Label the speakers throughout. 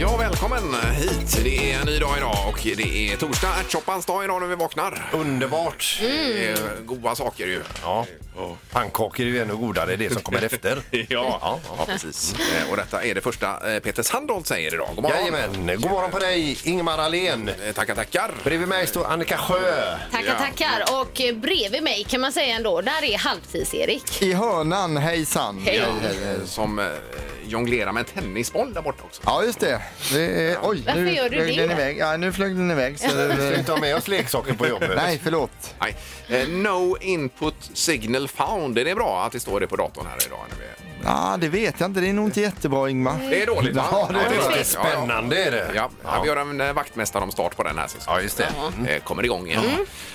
Speaker 1: Ja, välkommen hit. Det är en ny dag idag och det är torsdag, ärtsoppans dag idag när vi vaknar.
Speaker 2: Underbart!
Speaker 1: Eh, Goda saker ju.
Speaker 2: Ja. Pannkakor är ju ännu godare, det är det som kommer efter.
Speaker 1: Ja, ja precis. Eh, Och detta är det första eh, Peter Sandholt säger idag. God morgon.
Speaker 2: Jajamän! God morgon på dig, Ingmar Ahlén!
Speaker 1: Eh, Tackar, tackar.
Speaker 2: Bredvid mig står Annika Sjö.
Speaker 3: Tackar,
Speaker 1: Ja.
Speaker 3: tackar. Och eh, bredvid mig kan man säga ändå, där är halvtids-Erik.
Speaker 4: I hörnan, hejsan.
Speaker 3: Hej.
Speaker 1: Eh, Som eh, jonglerar med en tennisboll där borta också.
Speaker 4: Ja, just det. det är, oj,
Speaker 3: Varför
Speaker 4: nu
Speaker 3: gör du
Speaker 4: flög
Speaker 3: det?
Speaker 4: den iväg. Ja, nu flög den iväg. Så det,
Speaker 2: Vi ska inte ha med oss leksaker på jobbet.
Speaker 4: nej, förlåt.
Speaker 1: Nej. Eh, No input signal found. Är det bra att det står det på datorn här idag? När vi...
Speaker 4: Ja, det vet jag inte. Det är nog inte jättebra, Ingmar.
Speaker 1: Det är dåligt va?
Speaker 4: Ja, det är
Speaker 1: Ja,
Speaker 2: Det är
Speaker 1: dåligt. Ja, ja.
Speaker 2: spännande är det.
Speaker 1: Ja, vi gör en eh, vaktmästare om start på den här. sist.
Speaker 2: Ja, just det.
Speaker 1: Eh, Kommer igång igen.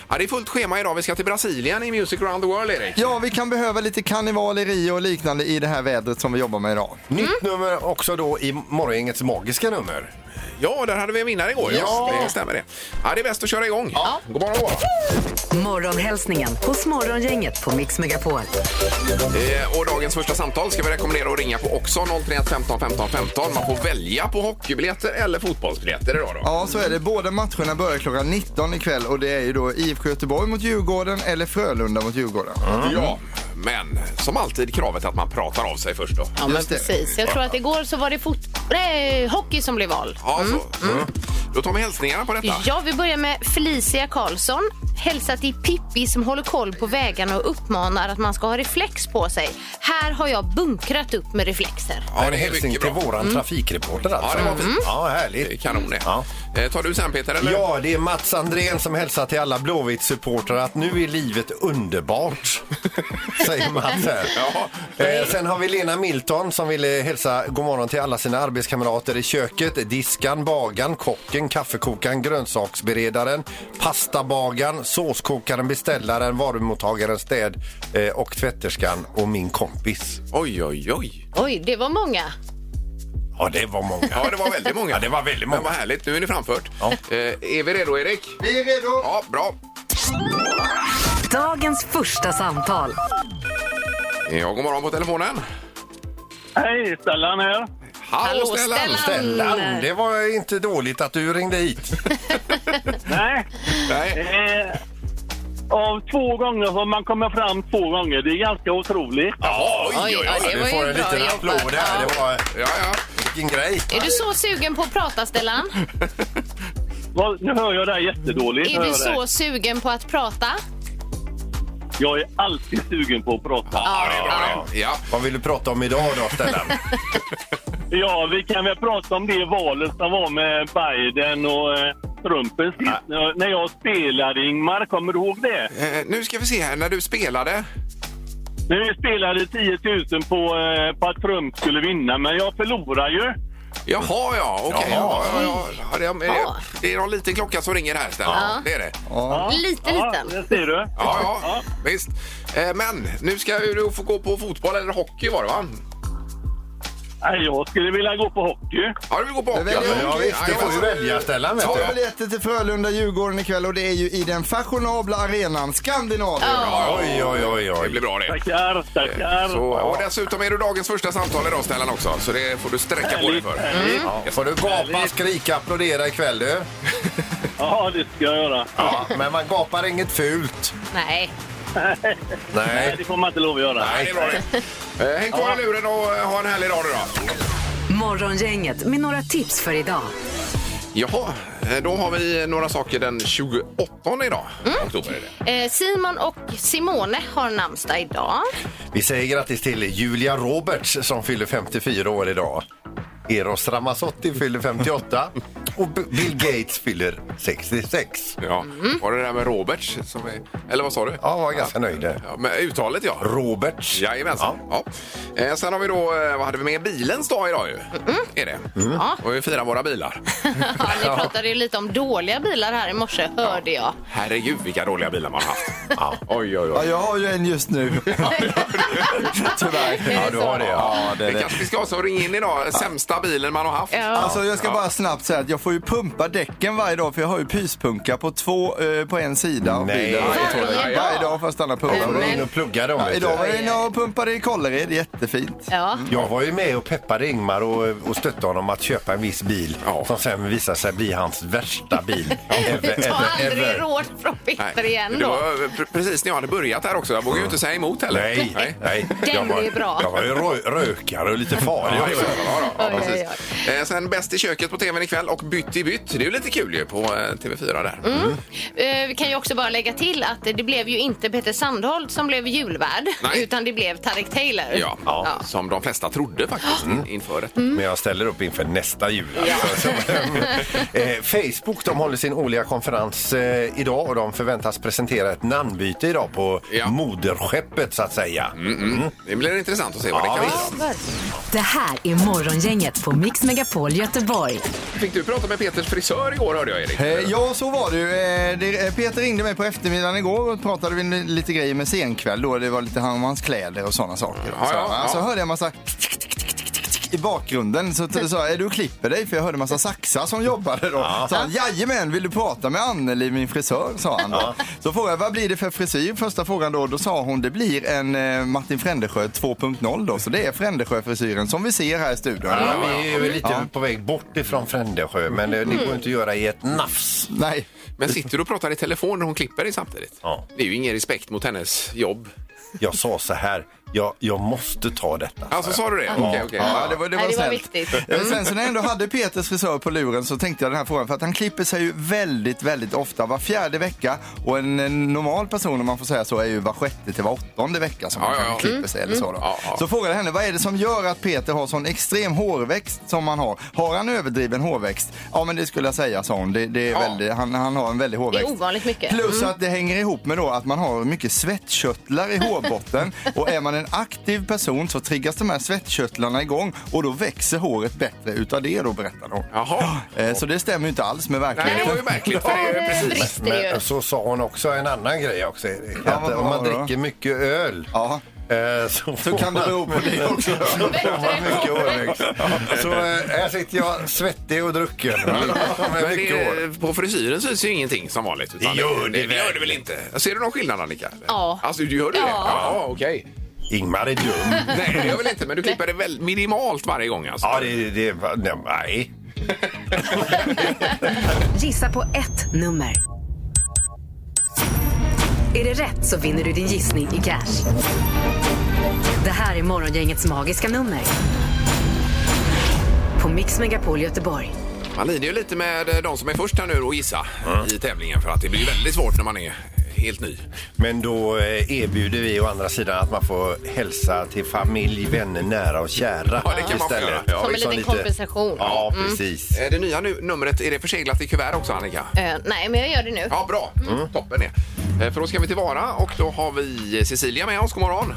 Speaker 1: Ja, det är fullt schema idag. Vi ska till Brasilien i Music Around the World, Erik.
Speaker 4: Ja, vi kan behöva lite karneval i Rio och liknande i det här vädret som vi jobbar med idag.
Speaker 2: Nytt nummer också då i morgongängets magiska nummer.
Speaker 1: Ja, där hade vi en vinnare igår. Ja. Det stämmer det. Ja, det är bäst att köra igång. Ja. God morgon, god morgon.
Speaker 5: Morgonhälsningen hos Morgongänget på Mix Megapol.
Speaker 1: Eh, och dagens första samtal ska vi rekommendera att ringa på också. 031 15 15 15. Man får välja på hockeybiljetter eller fotbollsbiljetter idag då.
Speaker 4: Ja, så är det. Båda matcherna börjar klockan 19 ikväll och det är ju då IFK Göteborg mot Djurgården eller Frölunda mot Djurgården.
Speaker 1: Ja,
Speaker 2: Mm.
Speaker 1: men som alltid kravet att man pratar av sig först då.
Speaker 3: Ja, men
Speaker 4: Just det.
Speaker 3: precis. Jag tror att igår så var det fot... Nej, hockey som blev val.
Speaker 1: Ja, så.
Speaker 2: Mm.
Speaker 1: Mm. Då tar vi hälsningarna på detta.
Speaker 3: Ja, vi börjar med Felicia Karlsson. Hälsa till Pippi som håller koll på vägarna och uppmanar att man ska ha reflex på sig. Här har jag bunkrat upp med reflexer.
Speaker 1: Ja,
Speaker 2: en hälsning till våran trafikreporter alltså.
Speaker 1: Ja, det var fint.
Speaker 2: Ja, härligt.
Speaker 1: Kanon det.
Speaker 2: Ja.
Speaker 1: Eh, tar du sen Peter? Eller?
Speaker 2: Ja, det är Mats Andrén som hälsar till alla Blåvitt-supportrar att nu är livet underbart. Säger Mats här. Eh, sen har vi Lena Milton som ville hälsa god morgon till alla sina arbetskamrater i köket. Diskan, bagan, kocken, kaffekokaren, grönsaksberedaren, pastabagan, såskokaren, beställaren, varumottagaren, städ eh, och tvätterskan och min kompis.
Speaker 1: Oj, oj, oj.
Speaker 3: Oj, det var många.
Speaker 2: Ja, det var många.
Speaker 1: Ja, det var väldigt många.
Speaker 2: Ja, det var väldigt många.
Speaker 1: Men vad härligt, nu är det framfört.
Speaker 2: Ja.
Speaker 1: Eh, är vi redo Erik?
Speaker 4: Vi är redo!
Speaker 1: Ja, bra.
Speaker 5: Dagens första samtal.
Speaker 1: Ja, god morgon på telefonen.
Speaker 6: Hej, Stellan här.
Speaker 1: Hallå,
Speaker 3: Hallå, Stellan.
Speaker 2: Stellan, det var inte dåligt att du ringde hit.
Speaker 6: Nej,
Speaker 1: Nej.
Speaker 6: eh, av två gånger har man kommit fram två gånger. Det är ganska otroligt.
Speaker 1: Ja, oj, oj,
Speaker 3: Oj,
Speaker 1: oj.
Speaker 3: ja, det
Speaker 2: Du
Speaker 3: var
Speaker 2: får
Speaker 3: ju
Speaker 2: en
Speaker 3: bra
Speaker 2: liten
Speaker 3: jobbat.
Speaker 2: applåd här. Det var,
Speaker 1: Ja, ja.
Speaker 2: vilken grej.
Speaker 3: Är du så sugen på att prata, Stellan?
Speaker 6: Vad- Nu hör jag dig jättedåligt.
Speaker 3: Är
Speaker 6: hör
Speaker 3: du
Speaker 6: jag dig.
Speaker 3: så sugen på att prata?
Speaker 6: Jag är alltid sugen på att prata.
Speaker 1: Ja, det är bra det. Ja.
Speaker 2: Vad vill du prata om idag då, Stellan?
Speaker 6: Ja, vi kan väl prata om det valet som var med Biden och eh, Trumpen sist. När- När jag spelade, Ingmar, kommer du ihåg det?
Speaker 1: Eh, nu ska vi se här, när du spelade.
Speaker 6: När vi spelade 10 000 på, eh, på att Trump skulle vinna, men jag förlorade ju.
Speaker 1: Jaha, ja, okej. Ja,
Speaker 2: Jaha.
Speaker 1: ja, ja, ja. Det, är, det,
Speaker 3: Ja.
Speaker 1: det är någon liten klocka som ringer här, Stellan.
Speaker 3: Ja.
Speaker 1: Det är det.
Speaker 3: Lite,
Speaker 6: Ja,
Speaker 3: liten.
Speaker 6: det ser du.
Speaker 1: Ja, ja, visst. Eh, men nu ska ju du få gå på fotboll eller hockey var det, va?
Speaker 6: Nej, Jag skulle vilja gå på hockey.
Speaker 1: Ja, du vill gå på
Speaker 4: Jag
Speaker 1: hockey.
Speaker 4: väljer
Speaker 1: alltså.
Speaker 2: Ja, visst, du
Speaker 1: Ja,
Speaker 2: får ju
Speaker 1: ja.
Speaker 2: välja, Stellan. Vet
Speaker 4: Ta
Speaker 2: du.
Speaker 4: biljetter till Frölunda-Djurgården ikväll och det är ju i den fashionabla arenan Skandinavien.
Speaker 2: Oj, oj, oj.
Speaker 1: Det blir
Speaker 2: oj.
Speaker 1: bra det.
Speaker 6: Tackar, tackar.
Speaker 1: Så, och dessutom är du dagens första samtal idag Stellan också, så det får du sträcka på dig för.
Speaker 2: Ja,
Speaker 1: Mm.
Speaker 2: Får du gapa, skrika, applådera ikväll du?
Speaker 6: Ja, det ska jag göra.
Speaker 2: Ja, men man gapar inget fult.
Speaker 3: Nej.
Speaker 6: Nej,
Speaker 2: Nej.
Speaker 6: det får man inte lov att göra.
Speaker 1: Nej, det är bra det. Eh, Häng kvar i luren och eh, ha en härlig dag nu då.
Speaker 5: Morgongänget med några tips för idag.
Speaker 1: Jaha, eh, då har vi några saker den 28 idag. Oktober är det.
Speaker 3: Eh, Simon och Simone har namnsdag idag.
Speaker 2: Vi säger grattis till Julia Roberts som fyller 54 år idag. Eros Ramazzotti fyller 58 och B- Bill Gates fyller 66.
Speaker 1: Ja. Var det det där med Roberts? Som är, eller vad sa du?
Speaker 2: Ja, jag var ganska nöjd. där.
Speaker 1: Ja, med uttalet ja.
Speaker 2: Roberts.
Speaker 1: Jajamensan. Ja. Eh, Sen har vi då, eh, vad hade vi med? Bilens dag idag ju. Är det.
Speaker 3: Ja.
Speaker 1: Och vi firar våra bilar.
Speaker 3: Ja, ni pratade ju lite om dåliga bilar här i morse, hörde jag.
Speaker 1: Herregud vilka dåliga bilar man har haft. Ja. Oj, oj, oj.
Speaker 4: Ja, jag har ju en just nu. Tyvärr.
Speaker 2: Ja, du har det. Ja.
Speaker 4: Ja, det,
Speaker 1: Det
Speaker 4: är
Speaker 1: kanske
Speaker 4: det.
Speaker 1: vi ska ha som ring in idag. Sämsta bilen man har haft.
Speaker 3: Ja.
Speaker 4: Alltså jag ska bara snabbt säga att jag får ju pumpa däcken varje dag för jag har ju pyspunka på två, eh, på en sida av
Speaker 2: Nej.
Speaker 4: bilen.
Speaker 1: Varje dag?
Speaker 4: Varje dag får jag stanna och pumpa.
Speaker 2: Får du in och plugga dem?
Speaker 4: Ja,
Speaker 2: vet du?
Speaker 4: idag var jag inne och pumpade i Kållered, jättefint.
Speaker 3: Ja.
Speaker 2: Jag var ju med och peppade Ingmar och, och stötte honom att köpa en viss bil
Speaker 1: Ja.
Speaker 2: som sen visade sig bli hans värsta bil. ever,
Speaker 3: Ta
Speaker 2: ever,
Speaker 3: aldrig
Speaker 2: ever.
Speaker 3: råd från Peter igen
Speaker 1: Det
Speaker 3: då.
Speaker 1: var eh, pre- precis när jag hade börjat här också. Jag vågade ju inte säga emot heller.
Speaker 2: Nej, nej.
Speaker 3: Den
Speaker 2: jag var,
Speaker 3: är bra.
Speaker 2: Jag var ju rö rökare och lite farlig
Speaker 1: Ja,
Speaker 2: också.
Speaker 1: ja, ja, ja,
Speaker 3: Oj,
Speaker 1: precis.
Speaker 3: oj,
Speaker 1: Eh, Sen Bäst i köket på tvn ikväll och Bytt i bytt. Det är ju lite kul ju på eh, TV4 där. Mm.
Speaker 3: Eh, Vi kan ju också bara lägga till att det blev ju inte Peter Sandholt som blev julvärd
Speaker 1: Nej.
Speaker 3: utan det blev Tarek Taylor.
Speaker 1: Ja, Mm. som de flesta trodde faktiskt in- inför detta.
Speaker 2: Men jag ställer upp inför nästa jul. Alltså. Eh, Facebook de håller sin årliga konferens eh, idag och de förväntas presentera ett namnbyte idag på
Speaker 1: Ja.
Speaker 2: moderskeppet så att säga.
Speaker 1: Mm. Det blir intressant att se vad det
Speaker 2: Ja,
Speaker 1: kan
Speaker 2: visst.
Speaker 1: bli.
Speaker 5: Det här är Morgongänget på Mix Megapol Göteborg.
Speaker 1: Fick du prata med Peters frisör igår hörde jag Erik?
Speaker 4: Eh, Ja, så var det ju. Eh, det- eh, Peter ringde mig på eftermiddagen igår och pratade vi li- lite grejer med senkväll då. Det var lite han om hans kläder och sådana saker.
Speaker 1: Ja,
Speaker 4: så,
Speaker 1: ja, ja.
Speaker 4: så hörde jag en massa tick, tick, tick, tick, tick, tick i bakgrunden. Så t- sa jag, du klipper dig? För jag hörde en massa saxar som jobbade då. Så han, jajamän, vill du prata med Anneli, min frisör? Sa han då. Så frågade jag, vad blir det för frisyr? Första frågan då, då sa hon, det blir en eh, Martin Frändesjö 2.0 då. Så det är Frändesjö-frisyren som vi ser här i studion.
Speaker 2: Ja, vi är ju lite på väg bort ifrån Frändesjö men eh, det
Speaker 3: Mm.
Speaker 2: går inte att göra i ett nafs.
Speaker 4: Nej.
Speaker 1: Men sitter du och pratar i telefon när hon klipper dig samtidigt?
Speaker 2: Ja.
Speaker 1: Det är ju ingen respekt mot hennes jobb.
Speaker 2: Jag sa så här, jag, jag måste ta detta.
Speaker 1: Alltså sa du det? Okej, okej.
Speaker 4: Ja, det var, det var,
Speaker 3: Nej, det var
Speaker 4: snällt.
Speaker 3: viktigt. Mm.
Speaker 4: Eh, Sen så när jag ändå hade Peters frisör på luren så tänkte jag den här frågan för att han klipper sig ju väldigt, väldigt ofta var fjärde vecka och en eh, normal person om man får säga så är ju var sjätte till var åttonde vecka som
Speaker 1: Ja,
Speaker 4: man
Speaker 1: ja,
Speaker 4: kanske
Speaker 1: ja.
Speaker 3: Mm.
Speaker 4: klipper sig eller så då.
Speaker 1: Ja, ja.
Speaker 4: Så frågade jag henne, vad är det som gör att Peter har sån extrem hårväxt som han har? Har han överdriven hårväxt? Ja men det skulle jag säga sa hon, det, det är
Speaker 1: Ja.
Speaker 4: väldigt, han, han har en väldig
Speaker 3: Det
Speaker 4: hårväxt.
Speaker 3: är ovanligt mycket.
Speaker 4: Plus att det hänger ihop med då att man har mycket svettkörtlar i hårbotten och är man en aktiv person så triggas de här svettkörtlarna igång och då växer håret bättre utav det då berättar de.
Speaker 1: Jaha.
Speaker 4: Eh, Så det stämmer ju inte alls med
Speaker 1: Nej, det
Speaker 4: verkligheten.
Speaker 1: var ju märkligt. För det är ju
Speaker 3: Eh,
Speaker 1: precis.
Speaker 3: brister det ju.
Speaker 2: Men så sa hon också en annan grej också Erik.
Speaker 4: Ja,
Speaker 2: att eh,
Speaker 4: vad
Speaker 2: om
Speaker 4: var
Speaker 2: man
Speaker 4: det då?
Speaker 2: dricker mycket öl
Speaker 4: Ja.
Speaker 2: eh,
Speaker 4: Så
Speaker 2: så, får
Speaker 4: kan det
Speaker 2: man-
Speaker 4: bero på det också.
Speaker 2: får man mycket hårväxt. Så eh, här sitter jag svettig och drucken. Med
Speaker 1: Men det,
Speaker 2: mycket hår.
Speaker 1: är- på frisyren syns ju ingenting som vanligt. utan
Speaker 2: Det gör det
Speaker 1: det, gör det väl inte? Ser du någon skillnad Annika?
Speaker 3: Ja.
Speaker 1: Alltså, du gör du det?
Speaker 3: Ja.
Speaker 1: Ja, okej.
Speaker 2: Ingmar är dum.
Speaker 1: Nej, det gör jag väl inte. Men du klipper det väl minimalt varje gång alltså?
Speaker 2: Ja, det, det, nej, nej.
Speaker 5: Gissa på ett nummer. Är det rätt så vinner du din gissning i cash. Det här är Morgongängets magiska nummer. På Mix Megapol Göteborg.
Speaker 1: Man lider ju lite med eh, de som är först här nu och gissa i tävlingen för att det blir ju väldigt svårt när man är helt ny.
Speaker 2: Men då eh, erbjuder vi å andra sidan att man får hälsa till familj, vänner, nära och kära.
Speaker 1: Ja, det kan man få göra. Ja,
Speaker 3: Som en
Speaker 2: liksom
Speaker 3: liten kompensation.
Speaker 2: Ja, precis.
Speaker 1: Eh, Det nya nu, numret, är det förseglat i kuvert också Annika?
Speaker 3: Eh, nej, men jag gör det nu.
Speaker 1: Ja, bra. Toppen är. Eh, För då ska vi till Vara och då har vi Cecilia med oss. God morgon!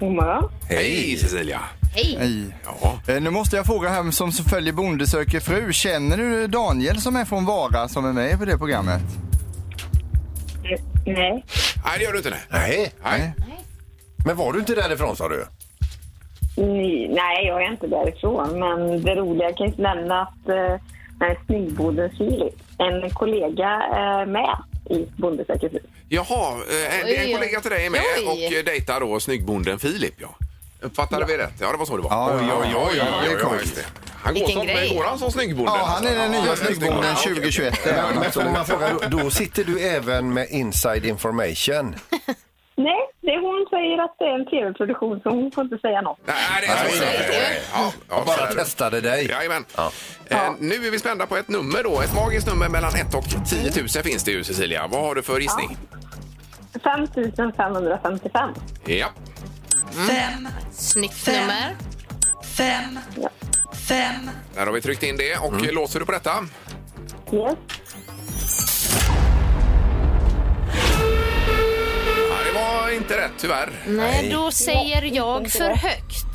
Speaker 7: God morgon.
Speaker 1: Hej Cecilia!
Speaker 3: Hej!
Speaker 4: Nej.
Speaker 1: Ja.
Speaker 4: Eh, Nu måste jag fråga här som följer Bonde söker fru. Känner du Daniel som är från Vara som är med på det programmet?
Speaker 7: Nej.
Speaker 1: Nej, det gör du inte. Nej.
Speaker 2: Nej,
Speaker 1: Nej.
Speaker 2: men var du inte därifrån sa du?
Speaker 7: Ni- Nej, jag är inte därifrån. Men det roliga jag kan ju nämna att eh, när Snigboden Filip, en kollega är med i Bonde söker fru.
Speaker 1: Jaha, eh, en, det är
Speaker 3: Oj.
Speaker 1: en kollega till dig är med
Speaker 3: Oj.
Speaker 1: och eh, dejtar då snyggbonden Filip. Ja. Uppfattade vi rätt? Ja, det var så det var.
Speaker 4: Ja, ja, ja, ja, det är coolt.
Speaker 1: just det. Han går
Speaker 3: Vilken
Speaker 1: som,
Speaker 3: grej.
Speaker 1: går han som snyggbonden?
Speaker 4: Ja, han är den nya snyggbonden 2021.
Speaker 2: Men, men får man fråga, då, då sitter du även med inside information.
Speaker 7: Nej, det hon säger att det är en tv-produktion så hon får inte säga något.
Speaker 1: Nej, det är så. jag
Speaker 2: Nej,
Speaker 1: förstår
Speaker 2: nej,
Speaker 1: det. Ja, ja,
Speaker 2: Jag bara
Speaker 1: så är det.
Speaker 2: testade dig.
Speaker 1: Jajamän.
Speaker 2: Ja.
Speaker 1: Eh, nu är vi spända på ett nummer då. Ett magiskt nummer mellan 1 och 10 000 finns det ju Cecilia. Vad har du för gissning?
Speaker 7: 5 555.
Speaker 1: Ja.
Speaker 3: Snyggt nummer.
Speaker 1: Där har vi tryckt in det och
Speaker 4: Mm.
Speaker 1: låser du på detta?
Speaker 7: Yes.
Speaker 1: Ja, det var inte rätt tyvärr.
Speaker 3: Nej, då säger jag för högt.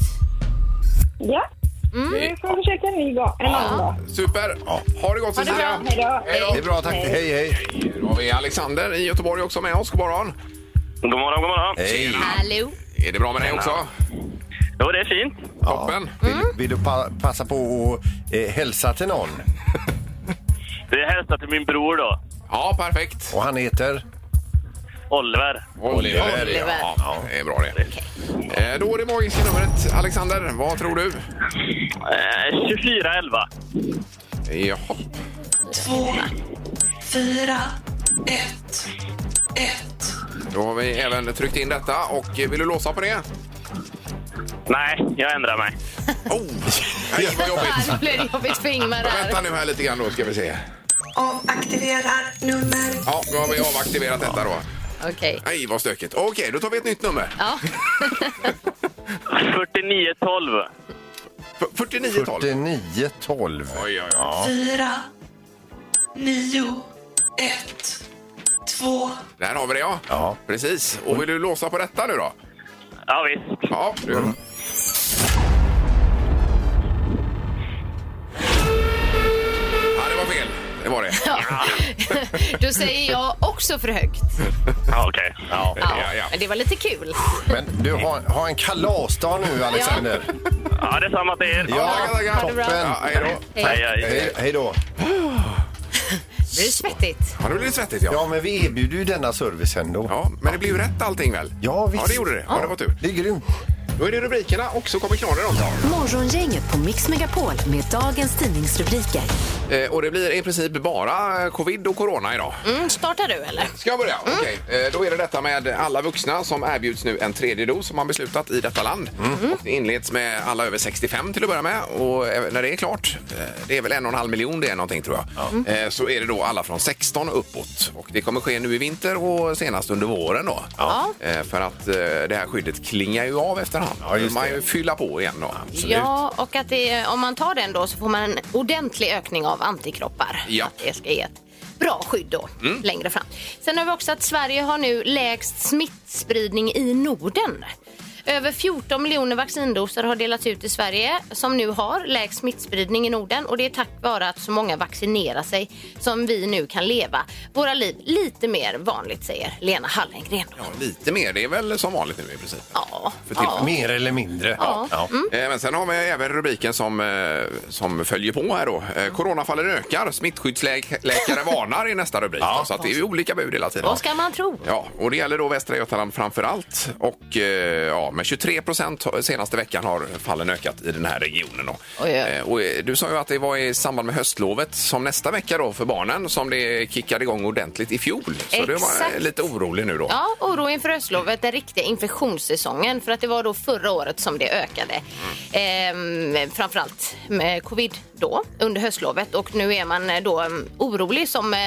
Speaker 7: Ja,
Speaker 1: Eh,
Speaker 7: vi får försöka en ny gång. En annan dag.
Speaker 1: Super! Ha det gott Cecilia!
Speaker 7: bra. Hej då.
Speaker 1: Hej då.
Speaker 2: Det är bra, tack. Hej, hej.
Speaker 1: Nu har vi Alexander i Göteborg också med oss. God morgon!
Speaker 3: Mm.
Speaker 8: God morgon, god morgon.
Speaker 2: Hej.
Speaker 3: Hallå!
Speaker 1: Är det bra med dig också?
Speaker 8: Jo, det är fint.
Speaker 1: Toppen.
Speaker 3: Mm.
Speaker 2: Vill, vill du pa passa på att eh, hälsa till någon?
Speaker 8: Det är hälsa till min bror då,
Speaker 1: Ja, perfekt.
Speaker 2: Och han heter?
Speaker 8: Oliver.
Speaker 1: Oliver.
Speaker 3: Oliver.
Speaker 1: Ja, ja, det är bra det. Eh, Då är det magiska numret. Alexander, vad tror du?
Speaker 8: Eh, 2411.
Speaker 1: Jaha.
Speaker 9: två, fyra, ett, ett.
Speaker 1: Då har vi även tryckt in detta. Och eh, vill du låsa på det?
Speaker 8: Nej, jag ändrar mig.
Speaker 1: Oh! Nej, vad jobbigt.
Speaker 3: Nu blev det jobbigt för Ingmar
Speaker 1: Vänta
Speaker 3: där.
Speaker 1: nu här lite grann då ska vi se.
Speaker 9: Avaktiverar nummer
Speaker 1: Ja, nu har vi avaktiverat detta då.
Speaker 3: Okej.
Speaker 1: Nej, vad stökigt. Okej, då tar vi ett nytt nummer.
Speaker 3: Ja.
Speaker 8: 4912.
Speaker 1: F- 4912.
Speaker 2: 49 12.
Speaker 1: Oj, oj, oj.
Speaker 9: fyra, nio, ett, två.
Speaker 1: Där har vi det ja.
Speaker 2: Ja.
Speaker 1: Precis. Och vill du låsa på detta nu då?
Speaker 8: Ja, visst.
Speaker 1: Ja, du.
Speaker 2: Mm.
Speaker 1: Ja, det var fel. Det var det.
Speaker 3: Då säger jag också för högt.
Speaker 8: Ja, okej.
Speaker 1: Ja,
Speaker 3: Ja.
Speaker 1: ja, ja.
Speaker 3: Men det var lite kul.
Speaker 2: Men du har, har en kalasdag nu Alexander.
Speaker 8: Ja, det är samma till er.
Speaker 1: tackar, tackar.
Speaker 3: ha det bra.
Speaker 2: toppen.
Speaker 1: Ja, hej då.
Speaker 8: Hej, hej.
Speaker 2: Hej, hej då.
Speaker 3: Det är svettigt.
Speaker 1: Ja, nu blir det svettigt ja.
Speaker 2: Ja, men vi erbjuder ju denna service ändå.
Speaker 1: Ja, men det blev ju rätt allting väl?
Speaker 2: Ja, visst.
Speaker 1: Ja, det gjorde det. Ja, det var tur.
Speaker 2: Det är grymt.
Speaker 1: Då är det rubrikerna och så kommer knorren också.
Speaker 5: Morgongänget på Mix Megapol med dagens tidningsrubriker.
Speaker 1: Eh, och det blir i princip bara eh, covid och corona idag.
Speaker 3: Mm, startar du eller?
Speaker 1: Ska jag börja?
Speaker 2: Mm.
Speaker 1: Okej. Eh, Då är det detta med alla vuxna som erbjuds nu en tredje dos som man beslutat i detta land.
Speaker 2: Mm.
Speaker 1: Och det inleds med alla över 65 till att börja med och eh, när det är klart, eh, det är väl en och en halv miljon det är någonting tror jag, Eh, så är det då alla från 16 och uppåt. Och det kommer ske nu i vinter och senast under våren då.
Speaker 3: Ja.
Speaker 1: Eh, För att eh, det här skyddet klingar ju av efterhand.
Speaker 2: Ja, just
Speaker 1: man
Speaker 2: det.
Speaker 1: ju fylla på igen då.
Speaker 3: Ja, och att det, är- om man tar den då så får man en ordentlig ökning av antikroppar.
Speaker 1: Ja. Mm.
Speaker 3: Att Det ska ge ett bra skydd då, längre fram. Sen har vi också att Sverige har nu lägst smittspridning i Norden. Över 14 miljoner vaccindoser har delats ut i Sverige som nu har lägst smittspridning i Norden och det är tack vare att så många vaccinerar sig som vi nu kan leva våra liv lite mer vanligt, säger Lena Hallengren.
Speaker 1: Ja, lite mer. Det är väl som vanligt nu i princip.
Speaker 3: Ja,
Speaker 1: För till-
Speaker 3: ja.
Speaker 2: Mer eller mindre.
Speaker 3: Ja. Mm.
Speaker 1: Eh, Men sen har vi även rubriken som, eh, som följer på här då. Eh, Coronafallen ökar, smittskyddsläkare varnar i nästa rubrik. Så att det är ju olika bud hela tiden.
Speaker 3: vad ska man tro?
Speaker 1: Ja, och det gäller då Västra Götaland framför allt. Och eh, ja, med 23 procent senaste veckan har fallen ökat i den här regionen. Då.
Speaker 3: Oj, oj.
Speaker 1: Eh, och eh, du sa ju att det var i samband med höstlovet som nästa vecka då för barnen som det kickade igång ordentligt i fjol. Så du var eh,
Speaker 3: Exakt.
Speaker 1: lite orolig nu då.
Speaker 3: Ja, oro inför höstlovet, den riktiga infektionssäsongen. För att det var då förra året som det ökade. Ehm, framförallt med covid då, under höstlovet. Och nu är man eh, då mm, orolig som eh,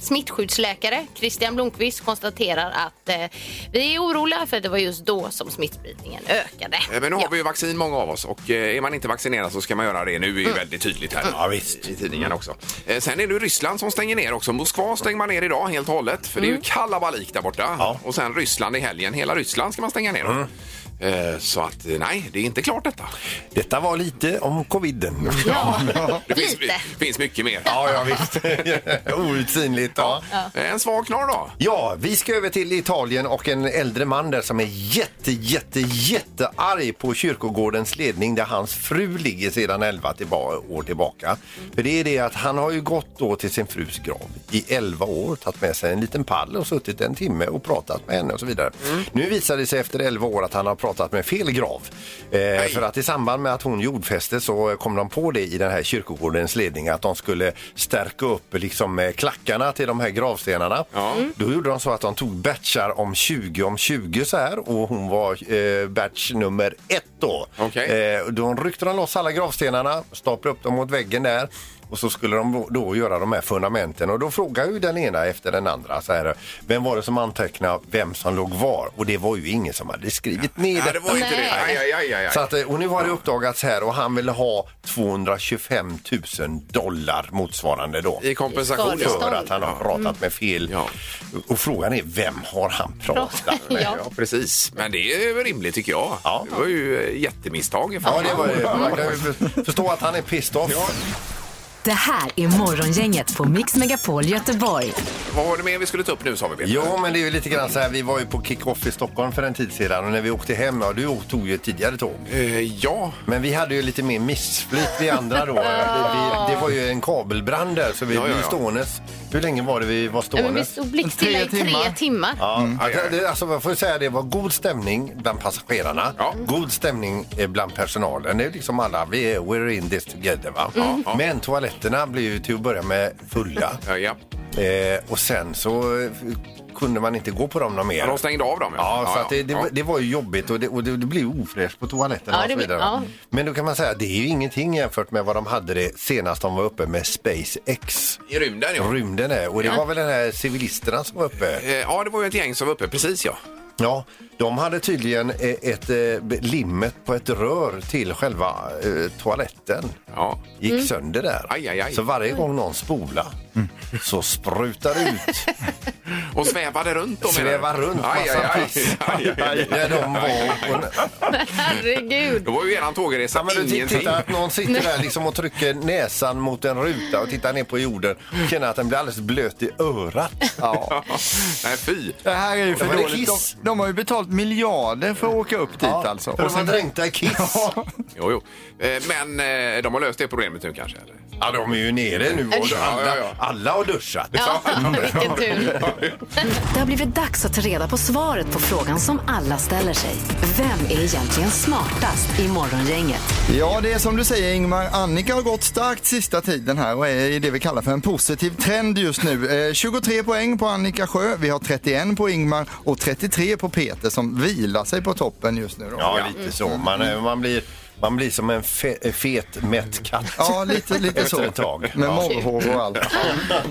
Speaker 3: smittskyddsläkare Christian Blomqvist konstaterar att eh, vi är oroliga för att det var just då som smittspridningen ökade.
Speaker 1: Eh, Men nu har
Speaker 3: Ja.
Speaker 1: vi ju vaccin många av oss och eh, är man inte vaccinerad så ska man göra det. Nu är det ju väldigt tydligt här
Speaker 2: Mm. Ja, visst.
Speaker 1: i tidningen också. Eh, Sen är det ju Ryssland som stänger ner också. Moskva stänger man ner idag helt och hållet för det är ju kalabalik där borta.
Speaker 2: Mm. Ja.
Speaker 1: Och sen Ryssland i helgen. Hela Ryssland ska man stänga ner.
Speaker 2: Mm.
Speaker 1: Eh, Så att eh, nej, det är inte klart detta.
Speaker 2: Detta var lite om coviden.
Speaker 1: Det finns,
Speaker 3: Lite.
Speaker 1: finns mycket mer.
Speaker 2: Ja, ja visst. Outsinligt. Ja.
Speaker 1: Eh, En svag knorr då.
Speaker 2: ja, vi ska över till Italien och en äldre man där som är jätte, jätte, jättearg på kyrkogårdens ledning där hans fru ligger sedan 11 tillba- år tillbaka. För det är det att han har ju gått då till sin frus grav i 11 år, tagit med sig en liten pall och suttit en timme och pratat med henne och så vidare. Nu visar det sig efter 11 år att han har pratat med fel grav. Eh, för att i samband med att hon jordfäste så kom de på det i den här kyrkogårdens ledning att de skulle stärka upp liksom eh, klackarna till de här gravstenarna.
Speaker 1: Ja. Mm.
Speaker 2: Då gjorde de så att de tog batchar om 20 om 20 så här och hon var eh, batch nummer ett då.
Speaker 1: Okej.
Speaker 2: Eh, då ryckte de loss alla gravstenarna, staplade upp dem mot väggen där och så skulle de då- då göra de här fundamenten och då frågade ju den ena efter den andra så här, vem var det som antecknade vem som låg var och det var ju ingen som hade skrivit ner
Speaker 1: Nej, det var inte det.
Speaker 3: Nej.
Speaker 1: Aj, aj, aj, aj.
Speaker 2: så att, eh, och nu har det uppdagats här och han ville ha 225 000 dollar motsvarande då.
Speaker 1: I kompensation.
Speaker 3: Skadestånd.
Speaker 1: ja.
Speaker 2: För att han har pratat med fel.
Speaker 1: Ja.
Speaker 2: Och frågan är, vem har han pratat med?
Speaker 3: Ja.
Speaker 1: Ja, precis. Men det är ju rimligt tycker jag.
Speaker 2: Ja.
Speaker 1: Det var ju eh, jättemisstag.
Speaker 2: Ja, det var ju... Man kan ju förstå att han är pissed off.
Speaker 5: Det här är Morgongänget på Mix Megapol Göteborg.
Speaker 1: Vad var det mer vi skulle ta upp nu sa vi Peter?
Speaker 2: Jo, men det är ju lite grann så här. Vi var ju på kick-off i Stockholm för en tid sedan och när vi åkte hem, ja du tog ju ett tidigare tåg.
Speaker 1: Eh, ja.
Speaker 2: Men vi hade ju lite mer missflyt vi andra då. Det- vi, det var ju en kabelbrand där så vi
Speaker 1: Ja, ja,
Speaker 2: blev
Speaker 1: ja.
Speaker 2: ståendes. Hur länge var det vi var
Speaker 3: Nej, men vi
Speaker 2: ståendes?
Speaker 3: stod blickstilla i
Speaker 4: Tre
Speaker 3: tre timmar.
Speaker 4: timmar.
Speaker 2: Ja,
Speaker 1: Mm.
Speaker 2: att- det- alltså, man får ju säga det var god stämning bland passagerarna,
Speaker 1: Ja.
Speaker 2: god stämning eh, bland personalen. Det är liksom alla, vi är, we're in this together. Va? Mm.
Speaker 1: ja.
Speaker 2: Men toaletterna blev ju till att börja med fulla
Speaker 1: Eh, ja.
Speaker 2: eh, och sen så eh, kunde man inte gå på dem någon mer.
Speaker 1: De stängde av dem
Speaker 2: Ja, så att det, det,
Speaker 1: ja.
Speaker 2: det var ju jobbigt och det, och det, det blev ju ofräscht på toaletterna
Speaker 3: Ja,
Speaker 2: och
Speaker 3: det
Speaker 2: så
Speaker 3: blir-
Speaker 2: vidare.
Speaker 3: ja.
Speaker 2: Men då kan man säga att det är ju ingenting jämfört med vad de hade det senast de var uppe med SpaceX.
Speaker 1: I rymden ja.
Speaker 2: Rymden är, och det var väl den här civilisterna som var uppe.
Speaker 1: Eh, ja, det var ju ett gäng som var uppe precis ja.
Speaker 2: Ja, de hade tydligen eh, ett eh, b- limmet på ett rör till själva eh, toaletten.
Speaker 1: Ja.
Speaker 2: Gick
Speaker 3: Mm.
Speaker 2: sönder där.
Speaker 1: Aj, aj, aj.
Speaker 2: Så varje gång någon spola så sprutar det ut,
Speaker 1: Och svävade runt dem. menar du?
Speaker 2: svävar runt
Speaker 1: Aj, aj,
Speaker 2: massa
Speaker 1: aj.
Speaker 2: piss
Speaker 1: Aj, aj, aj.
Speaker 2: där de var. Och,
Speaker 3: Herregud.
Speaker 1: Då var ju eran tågresa
Speaker 2: Ja, men du t-
Speaker 1: ingenting.
Speaker 2: tittar att någon sitter där liksom och trycker näsan mot en ruta och tittar ner på jorden och känner att den blir alldeles blöt i örat.
Speaker 4: Ja.
Speaker 1: Nej, fy.
Speaker 4: Det här är ju
Speaker 2: Det
Speaker 4: för
Speaker 2: var det
Speaker 4: dåligt.
Speaker 2: kiss.
Speaker 4: De, de har ju betalt miljarder för att åka upp dit alltså.
Speaker 2: För de var dränkta i kiss.
Speaker 1: Jo, jo. Eh, Men eh, de har löst det problemet nu kanske? Eller?
Speaker 2: Ja, de är ju nere nu och
Speaker 1: Ja, ja,
Speaker 2: alla,
Speaker 1: ja.
Speaker 2: alla har duschat.
Speaker 3: Ja, vilken tur.
Speaker 5: Det har blivit dags att ta reda på svaret på frågan som alla ställer sig. Vem är egentligen smartast i Morgongänget?
Speaker 4: Ja, det är som du säger Ingmar. Annika har gått starkt sista tiden här och är i det vi kallar för en positiv trend just nu. Eh, 23 poäng på Annika Sjö, vi har 31 på Ingmar och 33 på Peter som vilar sig på toppen just nu. Då.
Speaker 2: Ja, lite så. Man, är- man, blir, man blir som en fe, eh, fet, mätt katt.
Speaker 4: Ja, lite, lite så.
Speaker 2: Efter ett tag.
Speaker 4: Med
Speaker 2: Ja.
Speaker 4: morrhår och allt.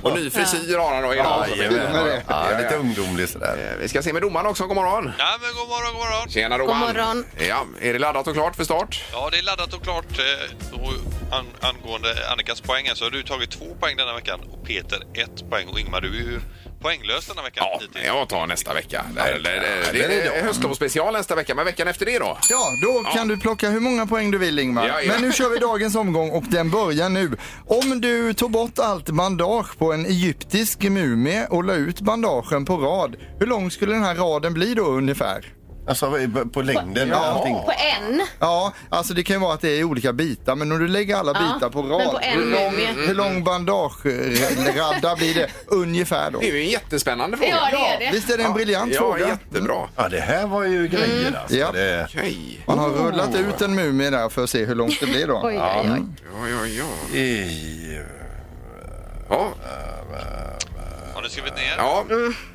Speaker 1: Och ny frisyr har han då idag.
Speaker 2: Ja,
Speaker 1: och så vidare.
Speaker 2: jajamän. ja,
Speaker 1: Ja,
Speaker 2: lite
Speaker 1: ja.
Speaker 2: ungdomlig sådär.
Speaker 1: Eh, Vi ska se med domaren också. God morgon!
Speaker 8: Ja, men god morgon, god morgon.
Speaker 1: Tjena domaren!
Speaker 3: God morgon.
Speaker 1: Ja, är det laddat och klart för start?
Speaker 8: Ja, det är laddat och klart. eh, Och an, angående Annikas poäng här så har du tagit två poäng denna veckan och Peter ett poäng. Och Ingmar, du är ju poänglös denna veckan.
Speaker 1: Ja,
Speaker 8: hittills.
Speaker 1: jag tar nästa vecka. Det, det, det,
Speaker 2: den är
Speaker 1: det är
Speaker 2: idag.
Speaker 1: höstlovsspecial nästa vecka, men veckan efter det då?
Speaker 4: Ja, då kan du plocka hur många poäng du vill Ingmar.
Speaker 1: Ja, ja.
Speaker 4: Men nu kör vi dagens omgång och den börjar nu. Om du tog bort allt bandage på en egyptisk mumie och la ut bandagen på rad, hur lång skulle den här raden bli då ungefär?
Speaker 2: Alltså på längden och
Speaker 4: Ja.
Speaker 2: allting.
Speaker 3: På en?
Speaker 4: Ja, alltså det kan ju vara att det är i olika bitar, men om du lägger alla
Speaker 3: Ja,
Speaker 4: bitar på
Speaker 3: men
Speaker 4: rad,
Speaker 3: på en
Speaker 4: hur lång,
Speaker 3: mumie.
Speaker 4: hur lång bandageradda blir det ungefär då?
Speaker 1: Det är ju en jättespännande fråga.
Speaker 3: Ja, det är det.
Speaker 4: Visst är det en briljant
Speaker 1: ja,
Speaker 4: fråga?
Speaker 1: jättebra.
Speaker 2: Ja, det här var ju grejer alltså.
Speaker 4: Ja.
Speaker 2: Det,
Speaker 1: Okej.
Speaker 4: Man har rullat ut en mumie där för att se hur långt det blir då.
Speaker 3: Oj, oj, oj.
Speaker 1: Ja, ja, ja.
Speaker 2: i,
Speaker 1: ja.
Speaker 8: Har ni skrivit ner?
Speaker 1: ja.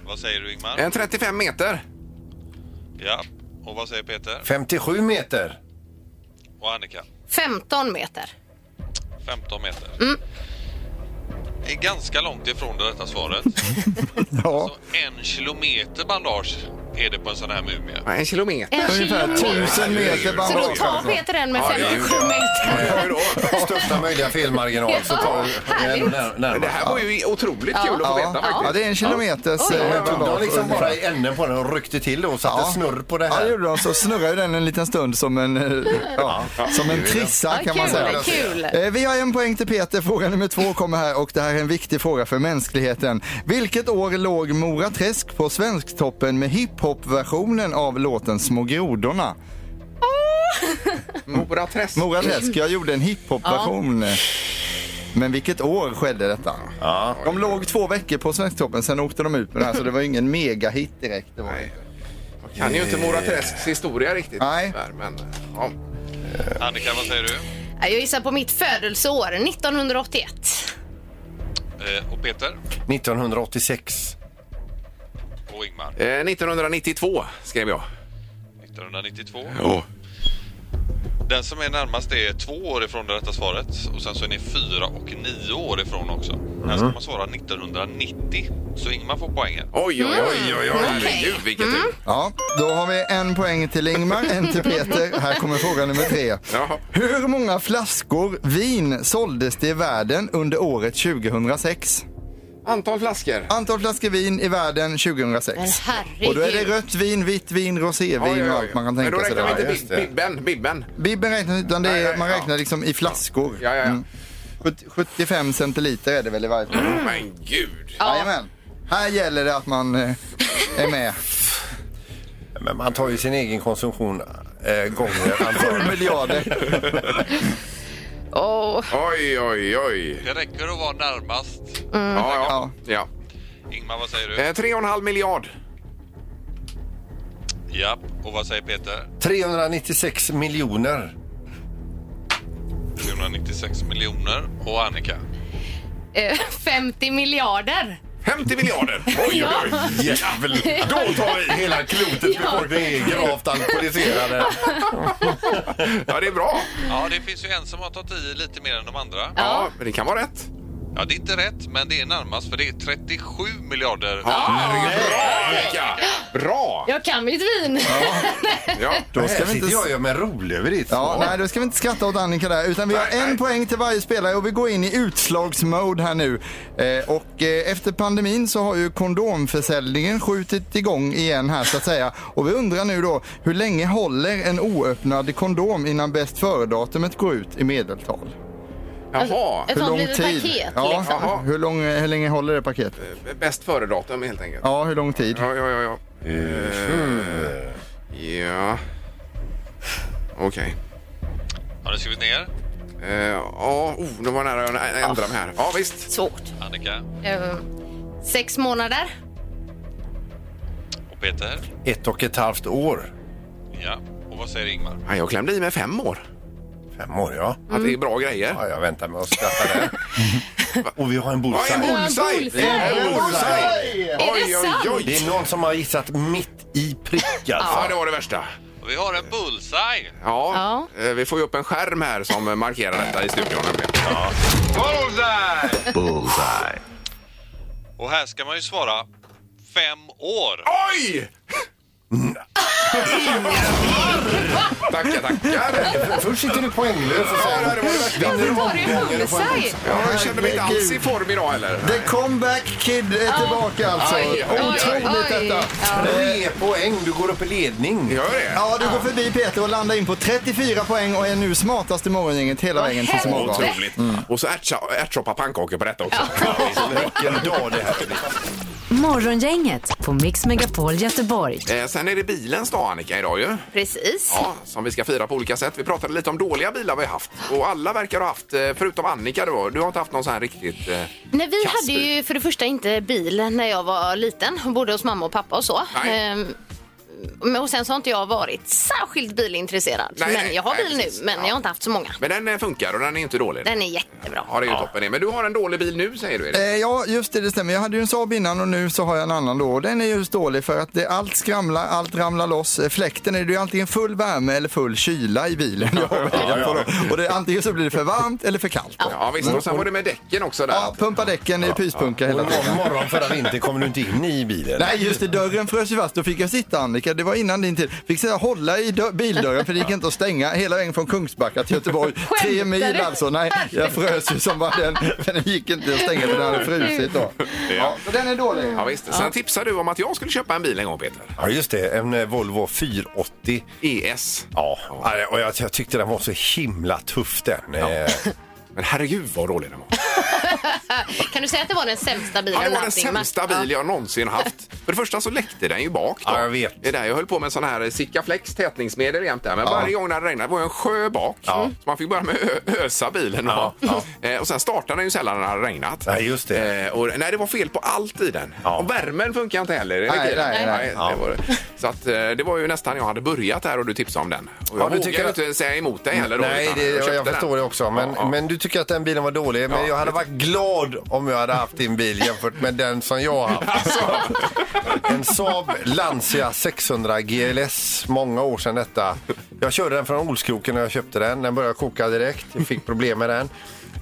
Speaker 8: Vad säger du Ingmar?
Speaker 1: En 35 meter.
Speaker 8: Ja. Och vad säger Peter?
Speaker 2: 57 meter.
Speaker 8: Och Annika?
Speaker 3: 15 meter.
Speaker 8: 15 meter. Det är ganska långt ifrån det rätta svaret.
Speaker 4: Ja,
Speaker 8: Så en kilometer bandage är det på en sån här mumie.
Speaker 1: Ja, En kilometer.
Speaker 3: En
Speaker 4: ungefär
Speaker 3: kilometer.
Speaker 4: 1000 meter
Speaker 3: Så då
Speaker 4: bandage.
Speaker 3: tar Peter den med
Speaker 1: Ja, det är ju
Speaker 3: 57
Speaker 1: bra.
Speaker 3: meter.
Speaker 1: Ja, då.
Speaker 2: Största möjliga felmarginal. Så tar vi
Speaker 3: härligt.
Speaker 2: när,
Speaker 1: Men Det
Speaker 2: närmast.
Speaker 1: här var ju otroligt kul att få veta
Speaker 4: Ja, ja,
Speaker 1: faktiskt.
Speaker 4: det är en kilometers
Speaker 3: Oj.
Speaker 4: eh,
Speaker 3: Ja,
Speaker 2: De
Speaker 4: tonnage.
Speaker 2: har liksom
Speaker 4: ungefär.
Speaker 2: bara i änden på den och ryckte till då och satte snurr på det
Speaker 4: Ja, det
Speaker 2: här.
Speaker 4: gjorde de. Så snurrar ju den en liten stund som en, eh, ja, som en trissa
Speaker 3: Ja,
Speaker 4: kan man
Speaker 3: kul,
Speaker 4: säga.
Speaker 3: kul.
Speaker 4: Eh, Vi har en poäng till Peter. Fråga nummer två kommer här och det här är en viktig fråga för mänskligheten. Vilket år låg Mora Träsk på Svensktoppen med hiphop-versionen av låten Små grodorna?
Speaker 1: Mora Träsk.
Speaker 4: Mora Träsk, jag gjorde en hiphop-version. Men vilket år skedde detta? De låg två veckor på Svensktoppen, sen åkte de ut med det här så det var ju ingen megahit direkt. Det var. det.
Speaker 1: Kan ju inte Mora Träsks historia riktigt.
Speaker 4: Nej.
Speaker 1: tyvärr, Men, ja.
Speaker 8: Annika, vad säger du?
Speaker 3: Jag gissar på mitt födelseår, 1981.
Speaker 8: Eh, och Peter?
Speaker 2: 1986.
Speaker 8: Och Ingmar?
Speaker 1: Eh, 1992 skrev jag.
Speaker 8: 1992.
Speaker 1: Oh.
Speaker 8: Den som är närmast är två år ifrån det rätta svaret. Och sen så är ni fyra och nio år ifrån också. Här ska man svara 1990. Så Ingmar får poängen.
Speaker 1: Oj, oj,
Speaker 4: Mm.
Speaker 1: oj, oj, oj. herregud vilket tur.
Speaker 4: Ja, då har vi en poäng till Ingmar, en till Peter. Här kommer fråga nummer tre.
Speaker 1: Jaha.
Speaker 4: Hur många flaskor vin såldes det i världen under året 2006?
Speaker 1: Antal flaskor.
Speaker 4: Antal flaskor vin i världen 2006.
Speaker 3: Men herregud.
Speaker 4: Och då är det rött vin, vitt vin, rosévin
Speaker 1: Oj, oj, oj.
Speaker 4: och allt man kan
Speaker 1: Men då
Speaker 4: tänka sig.
Speaker 1: räknar vi
Speaker 4: där.
Speaker 1: inte
Speaker 2: Ja, just
Speaker 1: bib-
Speaker 2: det.
Speaker 1: bibben. bibben.
Speaker 4: Bibben räknas utan det
Speaker 1: Nej, nej,
Speaker 4: är, man
Speaker 1: ja.
Speaker 4: räknar liksom i flaskor.
Speaker 1: Ja, ja, ja.
Speaker 4: Mm. sjut- 75 centiliter är det väl i varje fall?
Speaker 1: Men gud!
Speaker 4: Jajamän. Här gäller det att man eh, är med.
Speaker 2: Men man tar ju sin egen konsumtion eh, gånger antagligen.
Speaker 4: Miljarder.
Speaker 3: Åh,
Speaker 1: Oj, oj, oj.
Speaker 8: Det räcker att vara närmast.
Speaker 4: Mm.
Speaker 1: Ja, ja.
Speaker 8: Ingmar, vad säger
Speaker 1: ja.
Speaker 8: du?
Speaker 1: Eh, 3,5 miljard.
Speaker 8: Ja, och vad säger Peter?
Speaker 2: 396 miljoner.
Speaker 8: 396 miljoner. Och Annika?
Speaker 3: eh, 50 miljarder.
Speaker 1: 50 miljarder! Oj, oj, oj.
Speaker 2: Jävel! Då tar vi hela klotets befolkning är gravt alkoholiserade.
Speaker 1: Ja, det är bra.
Speaker 8: Ja, det finns ju en som har tagit i lite mer än de andra.
Speaker 1: Ja, men det kan vara rätt.
Speaker 8: Ja, det är inte rätt, men det är närmast för det är 37 miljarder.
Speaker 1: Herregud, Mm, bra, Annika! Bra!
Speaker 3: Jag kan mitt vin.
Speaker 1: Ja.
Speaker 2: Då
Speaker 4: ska vi inte-
Speaker 2: jag och gör mig rolig över ditt
Speaker 4: Ja, nej, då ska vi inte skratta åt Annika där. Utan vi har
Speaker 1: Nej, nej.
Speaker 4: en poäng till varje spelare och vi går in i utslagsmode här nu. Eh, och eh, efter pandemin så har ju kondomförsäljningen skjutit igång igen här så att säga. Och vi undrar nu då, hur länge håller en oöppnad kondom innan bäst före-datumet går ut i medeltal?
Speaker 1: Jaha,
Speaker 3: Ett
Speaker 4: Hur
Speaker 3: sånt
Speaker 4: lång
Speaker 3: litet
Speaker 4: tid?
Speaker 3: paket
Speaker 4: ja,
Speaker 3: liksom.
Speaker 1: Jaha.
Speaker 4: hur, lång, eh, hur länge håller det paketet?
Speaker 1: bäst före-datum helt enkelt.
Speaker 4: Ja, hur lång tid?
Speaker 1: Ja, ja, ja. Ja. Eh, ja. Okej.
Speaker 8: Har du skrivit ner?
Speaker 1: Eh, Ja, oh, nu var jag nära att ändra mig här. Ja, visst.
Speaker 3: Svårt.
Speaker 8: Annika
Speaker 3: Eh, sex månader.
Speaker 8: och Peter?
Speaker 2: Ett och ett halvt år.
Speaker 8: Ja. Och vad säger Ingmar?
Speaker 1: Ja, jag klämde i mig fem år.
Speaker 2: Fem år, ja.
Speaker 1: Att det är bra grejer.
Speaker 2: ja jag väntar med att skratta där. Och vi har
Speaker 1: Ja, en
Speaker 2: en bullseye.
Speaker 1: bullseye!
Speaker 3: bullseye!
Speaker 1: En bullseye!
Speaker 3: Är det sant?
Speaker 2: Det är någon som har gissat mitt i prick alltså.
Speaker 1: Ja, det var det värsta.
Speaker 8: Och vi har en bullseye!
Speaker 1: Ja, eh, vi får ju upp en skärm här som markerar detta i studion. nämligen. Bullseye!
Speaker 8: Och här ska man ju svara fem år.
Speaker 1: Oj! Tackar, tackar!
Speaker 2: Först sitter du poänglös och
Speaker 1: Ja, det var
Speaker 3: Varför tar
Speaker 1: det värsta.
Speaker 3: du en bullseye?
Speaker 1: Ja, jag känner mig inte alls i form idag heller.
Speaker 4: The comeback kid är tillbaka alltså.
Speaker 1: Aj, oj, oj.
Speaker 4: Otroligt detta.
Speaker 2: Tre poäng, du går upp i ledning.
Speaker 1: Gör det?
Speaker 4: Ja, du går förbi Peter och landar in på 34 poäng och är nu smartast i morgongänget hela
Speaker 3: Vad
Speaker 4: vägen tills imorgon.
Speaker 3: hände?
Speaker 1: Otroligt.
Speaker 2: Mm.
Speaker 1: Och så ärtsoppa ärtsoppa pannkakor på detta också.
Speaker 2: Vilken dag det här blir.
Speaker 5: Morgongänget på Mix Megapol Göteborg.
Speaker 1: Eh, Sen är det bilens dag Annika idag ju.
Speaker 3: Precis.
Speaker 1: Ja, som vi ska fira på olika sätt. Vi pratade lite om dåliga bilar vi har haft. Och alla verkar ha haft, eh, förutom Annika då, du har inte haft någon sån här riktigt... eh,
Speaker 3: Nej, vi
Speaker 1: Kasper.
Speaker 3: hade ju för det första inte bil när jag var liten. och Bodde hos mamma och pappa och så.
Speaker 1: Nej.
Speaker 3: Ehm, men- och sen så har inte jag varit särskilt bilintresserad.
Speaker 1: Nej,
Speaker 3: men
Speaker 1: nej,
Speaker 3: jag har
Speaker 1: nej,
Speaker 3: bil
Speaker 1: precis.
Speaker 3: nu, men
Speaker 1: Ja.
Speaker 3: jag har inte haft så många.
Speaker 1: Men den eh, funkar och den är inte dålig.
Speaker 3: Den är jättebra.
Speaker 1: Ja, det är ju toppen det. Men du har en dålig bil nu säger du Erik.
Speaker 4: Eh, ja, just det, det stämmer. Jag hade ju en Saab innan och nu så har jag en annan då. Och Den är just dålig för att det, allt skramlar, allt ramlar loss. Eh, Fläkten är det ju antingen full värme eller full kyla i bilen. Jag har vägrat på då. Och det, antingen så blir det för varmt eller för kallt. Då.
Speaker 1: Ja visst, och sen var det med däcken också där.
Speaker 4: Ja, pumpa däcken, det är pyspunka hela
Speaker 2: Och
Speaker 4: tiden.
Speaker 2: någon morgon förra vintern kom du inte in i bilen.
Speaker 4: Nej, just det. Dörren frös ju fast. Då fick jag sitta, Annika, det var innan din tid. Fick sitta och hålla i dö- bildörren för det gick inte att stänga hela vägen från Kungsbacka till Göteborg. Tre
Speaker 3: Skämtar
Speaker 4: mil
Speaker 3: du?
Speaker 4: alltså. Nej, jag frös ju som bara den. Men den gick inte att stänga för den hade frusit då. Ja, så den är dålig.
Speaker 1: Ja, visst. Sen tipsade du om att jag skulle köpa en bil en gång Peter. E
Speaker 2: Ja, just det. En eh, Volvo 480.
Speaker 1: ES.
Speaker 2: Ja, ja, och jag, jag tyckte den var så himla tuff den. Eh,
Speaker 1: Men herregud vad dålig den var.
Speaker 3: Kan du säga att det var den sämsta bilen?
Speaker 1: Ja, det var den
Speaker 3: du haft, Ingmar?
Speaker 1: sämsta bil jag någonsin haft. För det första så läckte den ju bak. Då.
Speaker 2: Ja, jag vet.
Speaker 1: Det är där jag höll på med sån här eh, Sikaflex tätningsmedel jämt där. Men varje gång när det regnade var det en sjö bak. Så man fick börja med att ö- ösa bilen.
Speaker 2: Ja, ja.
Speaker 1: Eh, Och sen startade den ju sällan när det hade regnat.
Speaker 2: Nej, just det.
Speaker 1: Eh, Och, nej, det var fel på allt i den.
Speaker 2: Ja.
Speaker 1: Och värmen funkar inte heller. i
Speaker 4: Nej,
Speaker 1: bilen.
Speaker 4: nej, nej.
Speaker 1: det var det. Så att, eh, det var ju nästan jag hade börjat här och du tipsade om den. Och jag
Speaker 2: Ja, du
Speaker 1: vågade
Speaker 2: tycker
Speaker 1: ju
Speaker 2: att-
Speaker 1: inte säga emot dig heller. Då,
Speaker 2: Nej,
Speaker 1: utan
Speaker 2: det, jag,
Speaker 1: köpte
Speaker 2: jag
Speaker 1: den.
Speaker 2: förstår det också. Men,
Speaker 1: Ja, ja.
Speaker 2: men du tycker att den bilen var dålig. Men
Speaker 1: Ja,
Speaker 2: jag hade
Speaker 1: lite.
Speaker 2: varit glad om jag hade haft din bil jämfört med den som jag har haft. En Saab Lancia 600 GLS, många år sedan detta. Jag körde den från Olskroken när jag köpte den. Den började koka direkt, jag fick problem med den.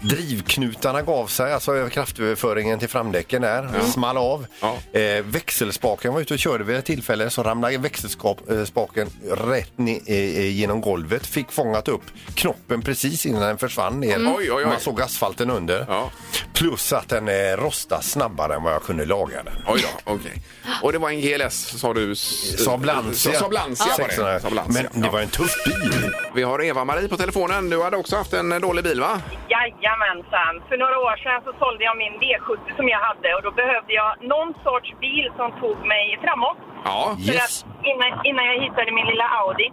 Speaker 2: Drivknutarna gav sig, alltså kraftöverföringen till framdäcken där, small av.
Speaker 1: Ja.
Speaker 2: Eh, växelspaken var ute och körde vid ett tillfälle så ramlade växelspaken rätt ni, eh, eh, genom golvet. Fick fångat upp knoppen precis innan den försvann ner.
Speaker 1: Mm. Oj, oj, oj.
Speaker 2: Man såg asfalten under.
Speaker 1: Ja.
Speaker 2: Plus att den eh, rostade snabbare än vad jag kunde laga den.
Speaker 1: Oj då, okej. Och det var en GLS sa du? s-
Speaker 2: Saab Lancia.
Speaker 1: Saab Lancia var det.
Speaker 2: 600.
Speaker 1: Saab Lancia.
Speaker 2: Men det var en tuff bil.
Speaker 1: Vi har Eva-Marie på telefonen. Du hade också haft en eh, dålig bil va?
Speaker 7: Jajamän. Jajamensan. För några år sedan så sålde jag min V70 som jag hade och då behövde jag någon sorts bil som tog mig framåt.
Speaker 1: Ja,
Speaker 7: För
Speaker 2: Yes.
Speaker 7: att innan, innan jag hittade min lilla Audi.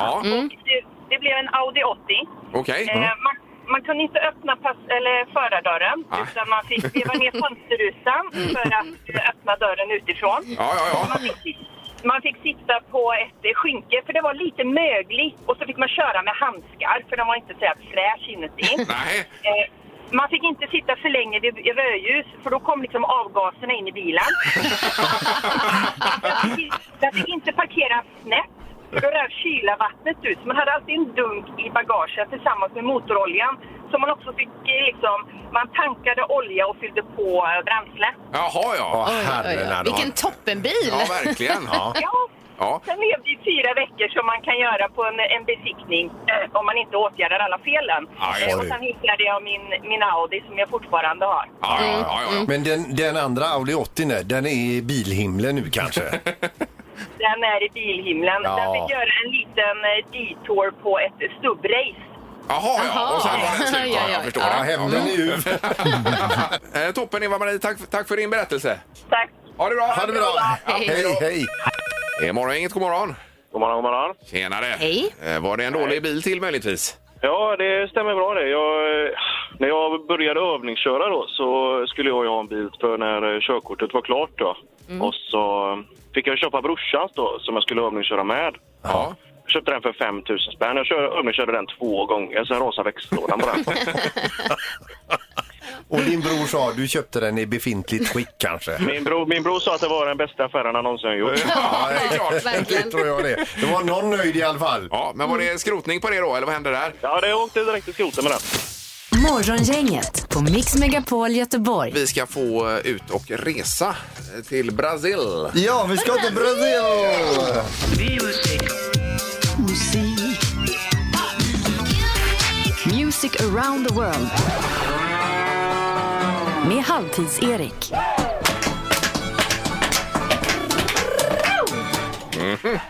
Speaker 1: ja,
Speaker 7: Och det, det blev en Audi 80.
Speaker 1: okej. Mm.
Speaker 7: Eh, man, man kunde inte öppna pass, eller förardörren
Speaker 1: Nej.
Speaker 7: utan man fick veva ner fönsterrutan
Speaker 1: Mm.
Speaker 7: för att eh, öppna dörren utifrån.
Speaker 1: Ja, ja, ja.
Speaker 7: Man fick, sit- man fick sitta på ett eh, skynke för det var lite mögligt och så fick man köra med handskar för de var inte så här fräsch inuti.
Speaker 1: Nej,
Speaker 7: Eh, man fick inte sitta för länge vid rödljus för då kom liksom avgaserna in i bilen. jag, fick, jag fick inte parkera snett för då rann kylavattnet ut. Man hade alltid en dunk i bagaget tillsammans med motoroljan som man också fick eh, liksom, man tankade olja och fyllde på eh, bränsle.
Speaker 1: jaha ja.
Speaker 2: Åh,
Speaker 3: Oj, oj, oj.
Speaker 2: herrarna.
Speaker 3: Vilken toppenbil!
Speaker 1: Ja, verkligen. Ja.
Speaker 7: Ja,
Speaker 1: Ja.
Speaker 7: sen levde i fyra veckor som man kan göra på en, en besiktning eh, om man inte åtgärdar alla felen.
Speaker 1: Aj,
Speaker 7: Eh, och
Speaker 2: oj.
Speaker 7: sen hittade jag min, min Audi som jag fortfarande har.
Speaker 1: Ja, ja, ja, ja.
Speaker 2: Men den, den andra Audi 80, nej, den är i bilhimlen nu kanske?
Speaker 7: Den är i bilhimlen.
Speaker 2: Ja.
Speaker 7: Den fick göra en liten eh, detour på ett stubbrace.
Speaker 1: Jaha, ja.
Speaker 3: Jaha.
Speaker 1: Och sen var den slut.
Speaker 3: Ja,
Speaker 1: Ja,
Speaker 3: ja,
Speaker 1: jag
Speaker 3: ja.
Speaker 1: förstår
Speaker 2: Ja,
Speaker 1: det.
Speaker 2: hämnden är ju...
Speaker 1: Eh, Toppen, Eva-Marie. Tack, tack för din berättelse.
Speaker 7: Tack!
Speaker 1: Ha det bra!
Speaker 2: Ha det bra!
Speaker 3: Hej.
Speaker 2: Hej, hej!
Speaker 1: Det är morgongänget, god morgon.
Speaker 10: God morgon, god morgon.
Speaker 1: Tjenare!
Speaker 3: Hej.
Speaker 1: Eh, Var det en dålig bil till möjligtvis?
Speaker 10: Ja, det stämmer bra det. Jag, eh, när jag började övningsköra då så skulle jag ju ha en bil för när eh, körkortet var klart då. Och så eh, fick jag köpa brorsans då som jag skulle övningsköra med.
Speaker 1: Ja.
Speaker 10: Jag köpte den för 5 000 spänn. Jag kör, övningskörde den två gånger, sen rasade växellådan bara.
Speaker 2: Och din bror sa du köpte den i befintligt skick kanske?
Speaker 10: Min bror, min bror sa att det var den bästa affären han någonsin gjort.
Speaker 1: Ja, det är klart.
Speaker 2: Det
Speaker 3: Verkligen.
Speaker 2: tror jag det. Det var någon nöjd i alla fall.
Speaker 1: Ja, men var det skrotning på det då, eller vad hände där?
Speaker 10: Ja, det åkte direkt i skroten med den.
Speaker 5: Morgongänget på Mix Megapol Göteborg.
Speaker 1: Vi ska få eh, ut och resa eh, till Brasil.
Speaker 4: Ja, vi ska till Brasilien!
Speaker 5: Music around the world. Med Halvtids-Erik.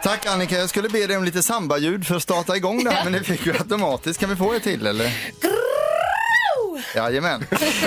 Speaker 4: Tack Annika, jag skulle be dig om lite sambaljud för att starta igång där, men det fick vi automatiskt. Kan vi få ett till eller? Jajamän.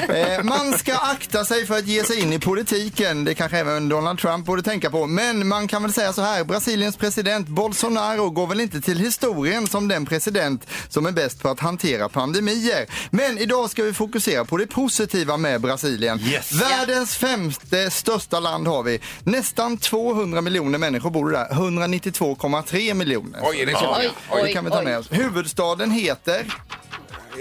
Speaker 4: Eh, man ska akta sig för att ge sig in i politiken. Det kanske även Donald Trump borde tänka på. Men man kan väl säga så här. Brasiliens president Bolsonaro går väl inte till historien som den president som är bäst på att hantera pandemier. Men idag ska vi fokusera på det positiva med Brasilien.
Speaker 2: Yes.
Speaker 4: Världens femte största land har vi. Nästan 200 miljoner människor bor där. 192,3 miljoner.
Speaker 1: Oj, är det så?
Speaker 3: Oj,
Speaker 4: Det kan vi ta med oss. Huvudstaden heter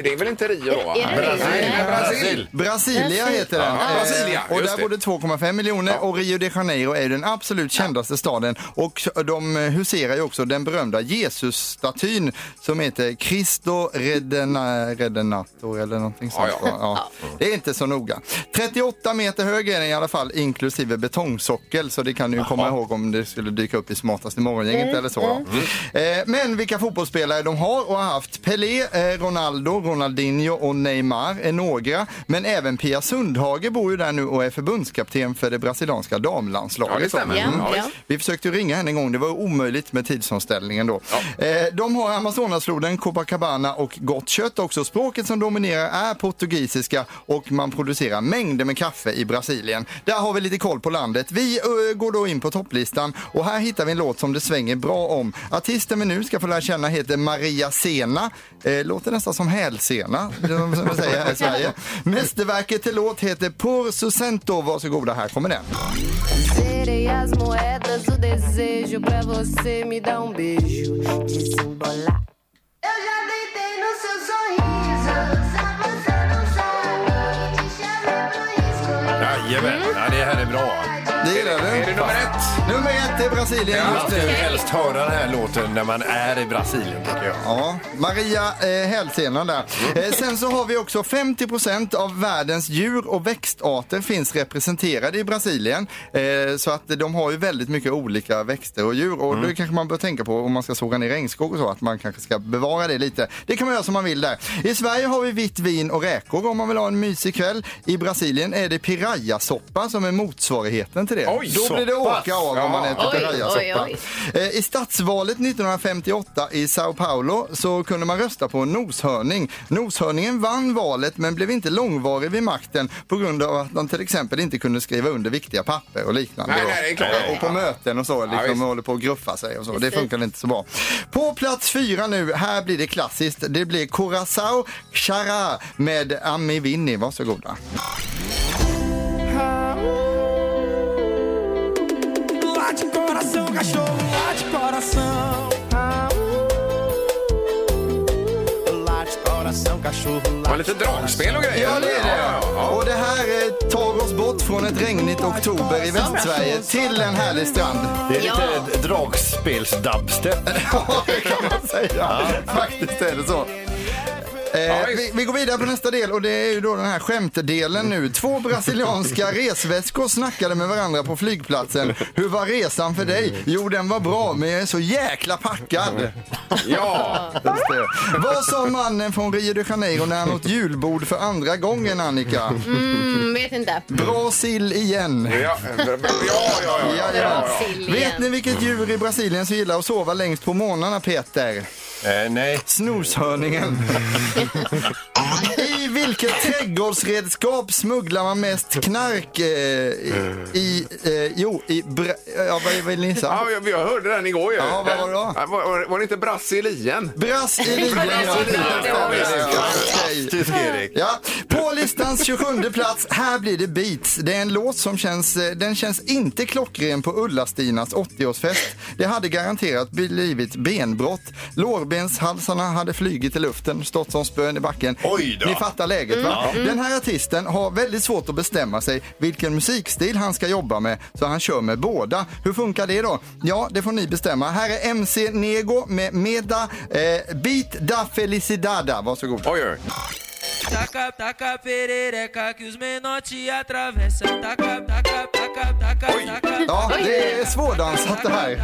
Speaker 1: Det är väl inte Rio då? Va?
Speaker 3: Är det Rio?
Speaker 1: Nej, Brasil.
Speaker 4: Brasilia heter den.
Speaker 1: Ja,
Speaker 4: Eh,
Speaker 1: Brasilia,
Speaker 4: och
Speaker 1: just
Speaker 4: där bor det 2,5 miljoner och Rio de Janeiro är ju den absolut kändaste staden. Och de eh, huserar ju också den berömda Jesusstatyn som heter Cristo Redena, Redenator eller någonting sånt.
Speaker 1: Ja, ja.
Speaker 4: Ja, Det är inte så noga. 38 meter hög är den i alla fall inklusive betongsockel så det kan ni ju komma ihåg om det skulle dyka upp i smartaste morgongänget
Speaker 1: Mm,
Speaker 4: eller så. Då. Eh, men vilka fotbollsspelare de har och har haft. Pelé, eh, Ronaldo, Ronaldinho och Neymar är några. Men även Pia Sundhage bor ju där nu och är förbundskapten för det brasilianska damlandslaget. Mm.
Speaker 1: Ja, det stämmer.
Speaker 3: Ja,
Speaker 1: Ja,
Speaker 3: ja.
Speaker 4: Vi försökte ju ringa henne en gång, det var omöjligt med tidsomställningen då. Eh, De har Amazonasfloden, Copacabana och gott kött också. Språket som dominerar är portugisiska och man producerar mängder med kaffe i Brasilien. Där har vi lite koll på landet. Vi eh, går då in på topplistan och här hittar vi en låt som det svänger bra om. Artisten vi nu ska få lära känna heter Maria Sena. Eh, Låter nästan som hälsena, det är som man säger här i Sverige. Mästerverket till låt heter Por Sucento. Varsågoda, här kommer den.
Speaker 11: Serei as moedas, o desejo pra você me dar um beijo, desembolar. Eu já deitei no seu sorriso, só você não sabe. Te chamei pro risco.
Speaker 2: Jajamän, ja, det här är bra.
Speaker 4: Det gillar du?
Speaker 1: Är det nummer ett?
Speaker 4: Nummer ett är Brasilien.
Speaker 2: Man
Speaker 4: Just
Speaker 2: ska
Speaker 4: det.
Speaker 2: ju helst höra den här låten när man är i Brasilien tycker jag.
Speaker 4: Ja, Maria eh, Hälsenan där.
Speaker 9: Mm.
Speaker 4: Eh, sen så har vi också 50 av världens djur och växtarter finns representerade i Brasilien. Eh, så att de har ju väldigt mycket olika växter och djur.
Speaker 9: Mm.
Speaker 4: Och det kanske man bör tänka på om man ska såga ner regnskog och så, att man kanske ska bevara det lite. Det kan man göra som man vill där. I Sverige har vi vitt vin och räkor om man vill ha en mysig kväll. I Brasilien är det pirayasoppa som är motsvarigheten till till det.
Speaker 9: Oj,
Speaker 4: Då
Speaker 9: så
Speaker 4: blir det
Speaker 9: pass.
Speaker 4: åka av
Speaker 9: Ja.
Speaker 4: om man äter
Speaker 9: Oj,
Speaker 4: pirayasoppa.
Speaker 9: oj,
Speaker 4: Eh, I stadsvalet 1958 i Sao Paulo så kunde man rösta på en noshörning. Noshörningen vann valet men blev inte långvarig vid makten på grund av att de till exempel inte kunde skriva under viktiga papper och liknande.
Speaker 1: Nej,
Speaker 4: då.
Speaker 1: nej, det är klart.
Speaker 4: Eh, Och på möten och så, liksom, håller på att gruffa sig och så. Det
Speaker 1: Precis.
Speaker 4: funkar inte så bra. På plats fyra nu, här blir det klassiskt. Det blir Curaçao Chara med Ami Winnie. Varsågoda.
Speaker 9: Late coração, cachorro, late coração. Ah, uh. Late coração, cachorro, late
Speaker 1: Och lite dragspel och grejer.
Speaker 4: Ja, det är det. Och det här eh, tar oss bort från ett regnigt oktober i Västsverige till en härlig strand.
Speaker 2: Det är lite dragspels-dubstep.
Speaker 4: Ja, det kan man säga. Faktiskt är det så. Eh, vi, vi går vidare på nästa del och det är ju då den här skämtdelen nu. Två brasilianska resväskor snackade med varandra på flygplatsen. Hur var resan för dig? Jo, den var bra, men jag är så jäkla packad.
Speaker 9: Ja.
Speaker 4: Just det. Vad sa mannen från Rio de Janeiro när han åt julbord för andra gången, Annika?
Speaker 3: Mm, vet inte.
Speaker 4: Bra sill igen.
Speaker 1: Ja, ja, ja.
Speaker 4: ja,
Speaker 3: Bra sill igen.
Speaker 4: Vet ni vilket djur i Brasilien som gillar att sova längst på morgnarna, Peter?
Speaker 2: nej.
Speaker 4: Snoshörningen. I vilket trädgårdsredskap smugglar man mest knark? Eh, i, i, eh, jo, i... Bra, ja, vad vill ni gissa?
Speaker 1: Ja, jag, jag hörde den igår ju.
Speaker 4: Ja, vad var det då?
Speaker 1: Ja, Var, var, var det inte Brassilien?
Speaker 4: Brassilien, ja. Ja, visst. Fantastisk, Erik. Ja, på listans 27 plats, här blir det Beats. Det är en låt som känns, eh, den känns inte klockren på Ulla-Stinas 80-årsfest. Det hade garanterat blivit benbrott. Lårbenshalsarna hade flugit i luften, stått som spön i backen.
Speaker 2: Oj då.
Speaker 4: Ni fattar läget va?
Speaker 2: Mm.
Speaker 4: Den här artisten har väldigt svårt att bestämma sig vilken musikstil han ska jobba med, så han kör med båda. Hur funkar det då? Ja, det får ni bestämma. Här är MC Nego med Meda eh, Beat da Felicidada. Varsågod.
Speaker 1: Oj, oj.
Speaker 9: Taca, taca perereca que os menor te atravessam. Taca, taca, taca, taca, taca.
Speaker 4: Ja, det är svårdansat det här.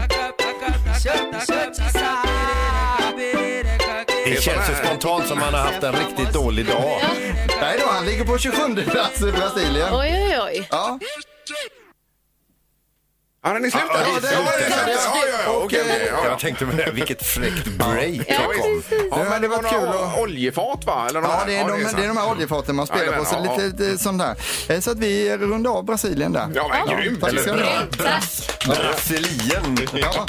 Speaker 2: Det känns ju spontant som han har haft en riktigt dålig dag.
Speaker 4: Nej då, han ligger på 27 plats i Brasilien.
Speaker 3: Oj, oj, oj.
Speaker 4: Ja.
Speaker 1: Ja, den är slut där. Ja,
Speaker 4: det är
Speaker 1: den är
Speaker 4: slut.
Speaker 1: slut. Ja, ja, ja. Okej, okej. Ja, ja.
Speaker 2: Jag tänkte på det, vilket fräckt break
Speaker 1: Ja,
Speaker 2: det kom.
Speaker 1: visst. ja, men det var
Speaker 4: varit kul
Speaker 1: några oljefat, va? Eller några-
Speaker 4: Ja, det är, de, det är de här oljefaten man spelar
Speaker 1: Jajamän,
Speaker 4: på. Så
Speaker 1: ja.
Speaker 4: lite eh, sånt där. Eh, Så att vi rundar av Brasilien där.
Speaker 1: Ja, men grymt.
Speaker 4: Tack ska ni ha.
Speaker 3: Tack.
Speaker 2: Brasilien.
Speaker 4: Ja.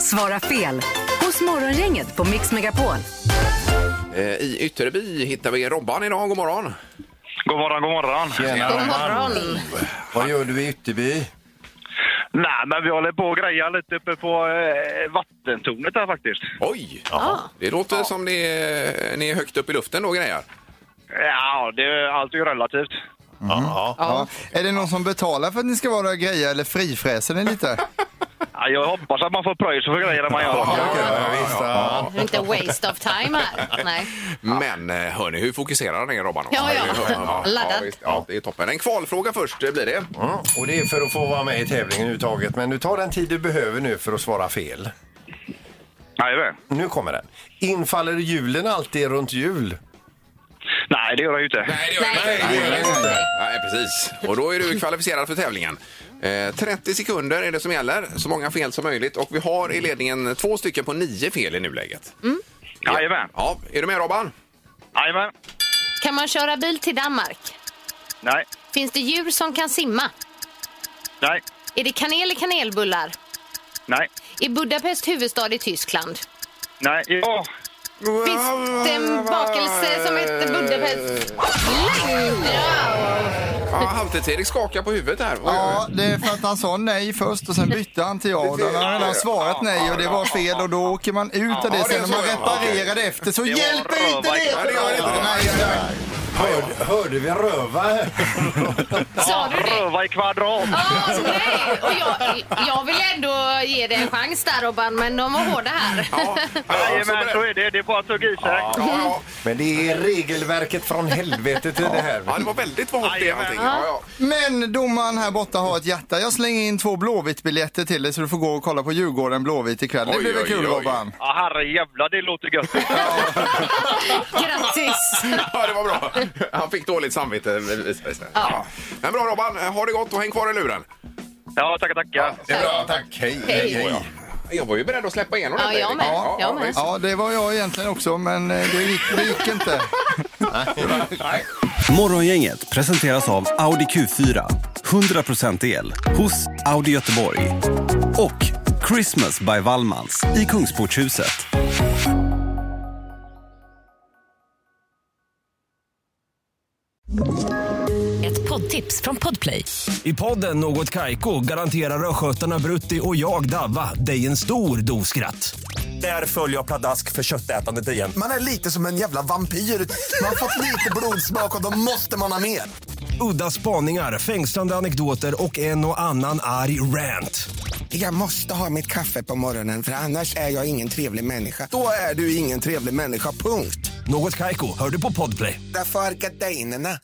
Speaker 5: Svara fel hos Morgongänget på Mix Megapol.
Speaker 1: Eh, I Ytterby hittar vi Robban idag. God morgon.
Speaker 6: God morgon, god morgon.
Speaker 2: Tjena,
Speaker 3: God
Speaker 2: Roman.
Speaker 3: morgon.
Speaker 2: Vad gör du i Ytterby? Mm.
Speaker 6: Nej, men vi håller på och grejar lite uppe på eh, vattentornet här faktiskt.
Speaker 1: Oj! Det låter som ni, eh, ni är högt upp i luften då, grejer.
Speaker 6: Ja, det är allt är ju relativt.
Speaker 2: Ja.
Speaker 4: Ja. Är det någon som betalar för att ni ska vara och greja eller frifräser ni lite?
Speaker 6: Ja, jag hoppas att man får pröjs för grejerna man gör.
Speaker 3: Det är inte waste of time här. Nej.
Speaker 1: Men eh, hörni, hur fokuserar ni Robban?
Speaker 3: Ja, ja. Laddad.
Speaker 1: Ja, visst. ja, det är toppen. En kvalfråga först eh, blir det.
Speaker 2: Mm. Och det är för att få vara med i tävlingen överhuvudtaget. Men du tar den tid du behöver nu för att svara fel.
Speaker 6: Jajamän.
Speaker 2: Nu kommer den. Infaller julen alltid runt jul?
Speaker 6: Nej, det gör jag ju inte.
Speaker 1: Nej, det gör
Speaker 3: Nej.
Speaker 1: det inte. Nej, det gör det inte. Nej, precis. Och då är du kvalificerad för tävlingen. Eh, 30 sekunder är det som gäller, så många fel som möjligt. Och vi har i ledningen två stycken på nio fel i nuläget.
Speaker 6: Jajamän.
Speaker 1: Ja, är du med Robban?
Speaker 6: Jajamän.
Speaker 3: Kan man köra bil till Danmark?
Speaker 6: Nej.
Speaker 3: Finns det djur som kan simma?
Speaker 6: Nej.
Speaker 3: Är det kanel i kanelbullar?
Speaker 6: Nej.
Speaker 3: Är Budapest huvudstad i Tyskland?
Speaker 6: Nej. Ja.
Speaker 3: Finns det en bakelse som heter Budapest? Längdra!
Speaker 1: Ja, Halvtids-Erik skakar på huvudet här.
Speaker 4: Ja, det är för att han sa nej först och sen bytte han till ja. Och då har han redan svarat nej och det var fel och då åker man ut av det.
Speaker 1: Ja, det är
Speaker 4: Sen när man
Speaker 1: så, ja.
Speaker 4: reparerar det efter så
Speaker 6: Det var
Speaker 4: hjälper inte det!
Speaker 1: Ja, det gör det inte. Nej, nej, nej.
Speaker 2: Hörde, hörde vi röva?
Speaker 3: Sa du det?
Speaker 6: Röva i kvadrat.
Speaker 3: Ah, nej. Och jag, jag vill ändå ge dig en chans där Robban, men de var hårda här.
Speaker 1: Ja, ja, så
Speaker 6: Jajamän, så
Speaker 1: beredd.
Speaker 6: är det. Det är bara att tugga i sig.
Speaker 1: Ja, ja.
Speaker 2: Men det är regelverket från helvetet i det här.
Speaker 1: ja, det var väldigt vagt det allting. Ja, ja.
Speaker 4: Men domaren här borta har ett hjärta. Jag slänger in två Blåvitt-biljetter till dig så du får gå och kolla på Djurgården Blåvitt ikväll. Det
Speaker 1: Oj,
Speaker 4: blir väl
Speaker 1: oj,
Speaker 4: kul
Speaker 1: oj.
Speaker 4: Robban?
Speaker 6: Ja, herrejävlar, det låter gött.
Speaker 3: Grattis!
Speaker 1: Ja, det var bra. Han fick dåligt samvete visade sig. Ja. Men bra Robban, ha det gott och häng kvar i luren.
Speaker 10: Ja, tackar, tackar.
Speaker 1: det är bra, tack. Hej.
Speaker 4: Hej.
Speaker 1: Jag var ju beredd att släppa igenom
Speaker 3: Ja, jag med.
Speaker 1: Ja,
Speaker 3: Jag med.
Speaker 1: visst.
Speaker 4: Ja, det var jag egentligen också, men eh, det gick, det gick inte.
Speaker 1: Nej.
Speaker 12: Morgongänget presenteras av Audi Q4. 100% el hos Audi Göteborg. Och Christmas by Wallmans i Kungsportshuset.
Speaker 13: Ett poddtips från Podplay.
Speaker 14: I podden Något Kaiko garanterar östgötarna Brutti och jag, Davva, dig en stor dos skratt. Där följer jag pladask för köttätandet igen.
Speaker 15: Man är lite som en jävla vampyr. Man har fått lite blodsmak och då måste man ha mer.
Speaker 14: Udda spaningar, fängslande anekdoter och en och annan arg rant.
Speaker 15: Jag måste ha mitt kaffe på morgonen för annars är jag ingen trevlig människa. Då är du ingen trevlig människa, punkt.
Speaker 14: Något Kaiko, hör du på Podplay.
Speaker 15: Därför arkadeinerna.